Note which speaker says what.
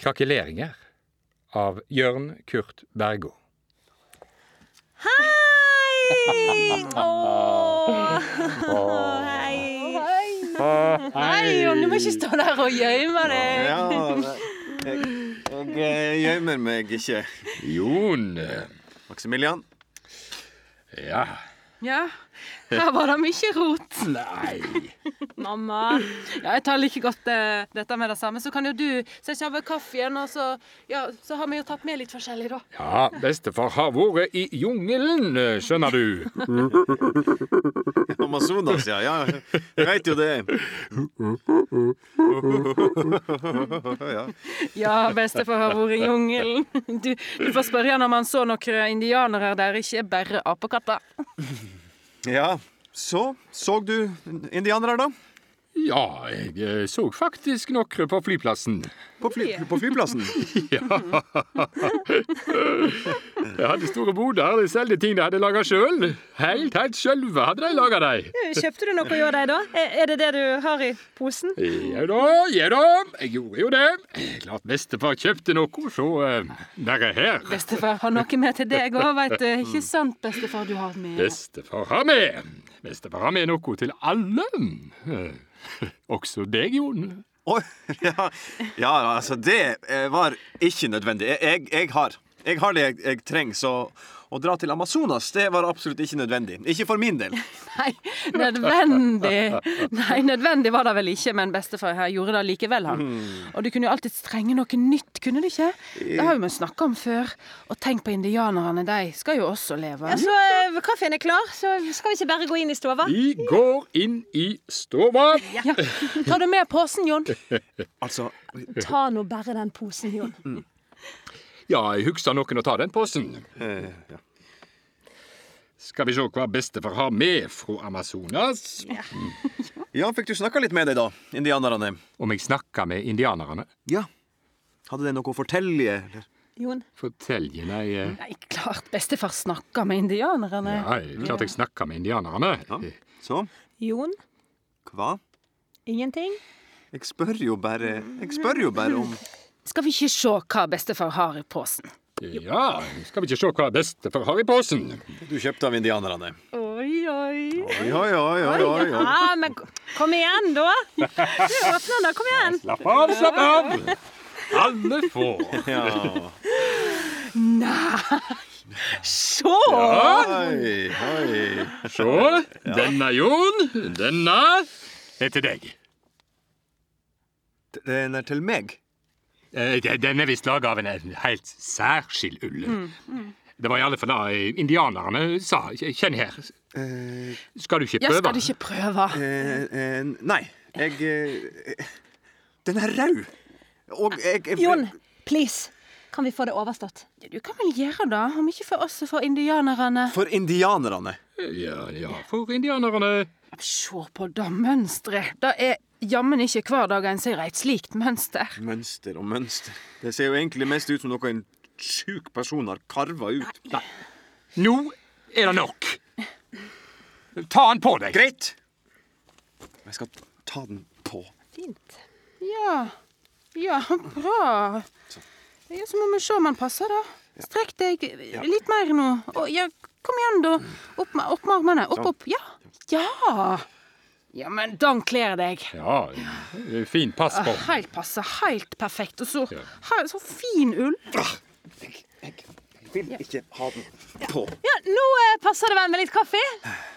Speaker 1: 'Krakeleringer' av Jørn Kurt Bergo.
Speaker 2: Hei! Åh! Hei. Hei, Jon. Du må ikke stå der og gjemme deg.
Speaker 3: Ja, det- jeg, jeg eh, gjemmer meg ikke.
Speaker 1: Jon.
Speaker 3: Maximilian,
Speaker 1: Ja.
Speaker 2: Ja, her var det mye rot.
Speaker 1: Nei.
Speaker 2: Mamma. Ja, jeg tar like godt eh, dette med det samme. Så kan jo du sette over kaffen, og så, ja, så har vi jo tatt med litt forskjellig, da.
Speaker 1: Ja, bestefar har vært i jungelen, skjønner du.
Speaker 3: Amazonas, ja. ja jeg veit jo det. Ja.
Speaker 2: Ja, bestefar har vært i jungelen. Du, du får spørre han om han så noen eh, indianere der, ikke bare apekatter.
Speaker 3: ja. Så såg du indianere, da?
Speaker 1: Ja, jeg eh, så faktisk noen på flyplassen.
Speaker 3: På, fly, på flyplassen?
Speaker 1: Jeg hadde store boder, de solgte ting de hadde laga sjøl. Helt, helt sjølve hadde de laga dem.
Speaker 2: Eh,
Speaker 4: Kjøpte du noe hos deg, da? Er er det det du har i posen?
Speaker 1: Ja da, ja da, jeg gjorde jo det. Klart bestefar kjøpte noe, så eh, der er her.
Speaker 2: Bestefar har noe med til deg òg, veit du. Ikke sant, bestefar? Du har med
Speaker 1: Bestefar har med. Bestefar har med noe til alle. Eh, Også deg, Jon.
Speaker 3: Oi, ja. ja, altså, det eh, var ikke nødvendig. Jeg, jeg, jeg har Jeg har det jeg, jeg trenger, så å dra til Amazonas det var absolutt ikke nødvendig. Ikke for min del.
Speaker 2: Nei, nødvendig. Nei, nødvendig var det vel ikke, men bestefar her gjorde det likevel, han. Og du kunne jo alltid strenge noe nytt, kunne du ikke? Det har jo vi snakka om før. Og tenk på indianerne, de skal jo også leve.
Speaker 4: Ja, så eh, Kaffen er klar, så skal vi ikke bare gå inn i stova?
Speaker 1: Vi går inn i stova.
Speaker 2: Ja. Tar du med posen, Jon?
Speaker 3: Altså,
Speaker 4: Ta nå bare den posen, Jon.
Speaker 1: Ja, jeg husker noen å ta den posen.
Speaker 3: eh, ja.
Speaker 1: Skal vi se hva bestefar har med fra Amazonas.
Speaker 3: ja, fikk du snakka litt med deg, da? Indianerne?
Speaker 1: Om jeg snakker med indianerne?
Speaker 3: Ja. Hadde det noe å fortelle, eller?
Speaker 4: Jon.
Speaker 1: Fortell jeg nei, eh,
Speaker 2: Nei, klart bestefar snakker med indianerne.
Speaker 1: nei, klart jeg snakker med indianerne.
Speaker 3: Så?
Speaker 4: Jon.
Speaker 3: Hva?
Speaker 4: Ingenting?
Speaker 3: Jeg spør jo bare Jeg spør jo bare om
Speaker 2: Skal vi ikke se hva bestefar har i posen?
Speaker 1: Ja, skal vi ikke se hva bestefar har i posen?
Speaker 3: Du kjøpte av indianerne.
Speaker 2: Oi, oi.
Speaker 3: Oi, oi, oi, oi, oi, oi.
Speaker 4: Ja, men kom igjen, da! Du åpner den, kom igjen!
Speaker 1: Slapp av, slapp av! Alle får.
Speaker 3: Ja.
Speaker 2: Se!
Speaker 3: Oi, oi.
Speaker 1: Se, denne, Jon. Denne er til deg.
Speaker 3: Den er til meg.
Speaker 1: Eh, de- Den er visst laga av en en helt særskilt ull.
Speaker 2: Mm,
Speaker 1: Det var i alle fall det indianerne sa. Kjenn her. Skal du ikke
Speaker 2: Ja,
Speaker 1: prøve?
Speaker 2: skal du ikke prøve?
Speaker 3: Eh, eh, nei, jeg eh, Den er rød! Og jeg, jeg
Speaker 4: Jon, please. Kan vi få det overstått?
Speaker 2: Du kan vel gjøre det, om ikke for oss, så for indianerne.
Speaker 3: For indianerne.
Speaker 1: Ja, ja, for indianerne.
Speaker 2: Se på det mønsteret. Det er jammen ikke hver dag en ser et slikt mønster.
Speaker 3: Mønster og mønster. Det ser jo egentlig mest ut som noe en sjuk person har karva ut. Nei.
Speaker 1: Nå er det nok. Ta han på deg.
Speaker 3: Greit! Jeg skal ta den på.
Speaker 4: Fint.
Speaker 2: Ja, ja, bra. Ja, så må vi se om han passer, da. Strekk deg litt mer nå. Og, ja, kom igjen, da. Opp med, opp med armene. Opp, opp. Ja. Ja. Ja, men den kler deg. Ah,
Speaker 1: Ja, fin pass på.
Speaker 2: Helt passe. Helt perfekt. Og så, he- så fin ull.
Speaker 3: Jeg vil ikke ha den på.
Speaker 4: Ja, Nå eh, passer det vel med litt kaffe?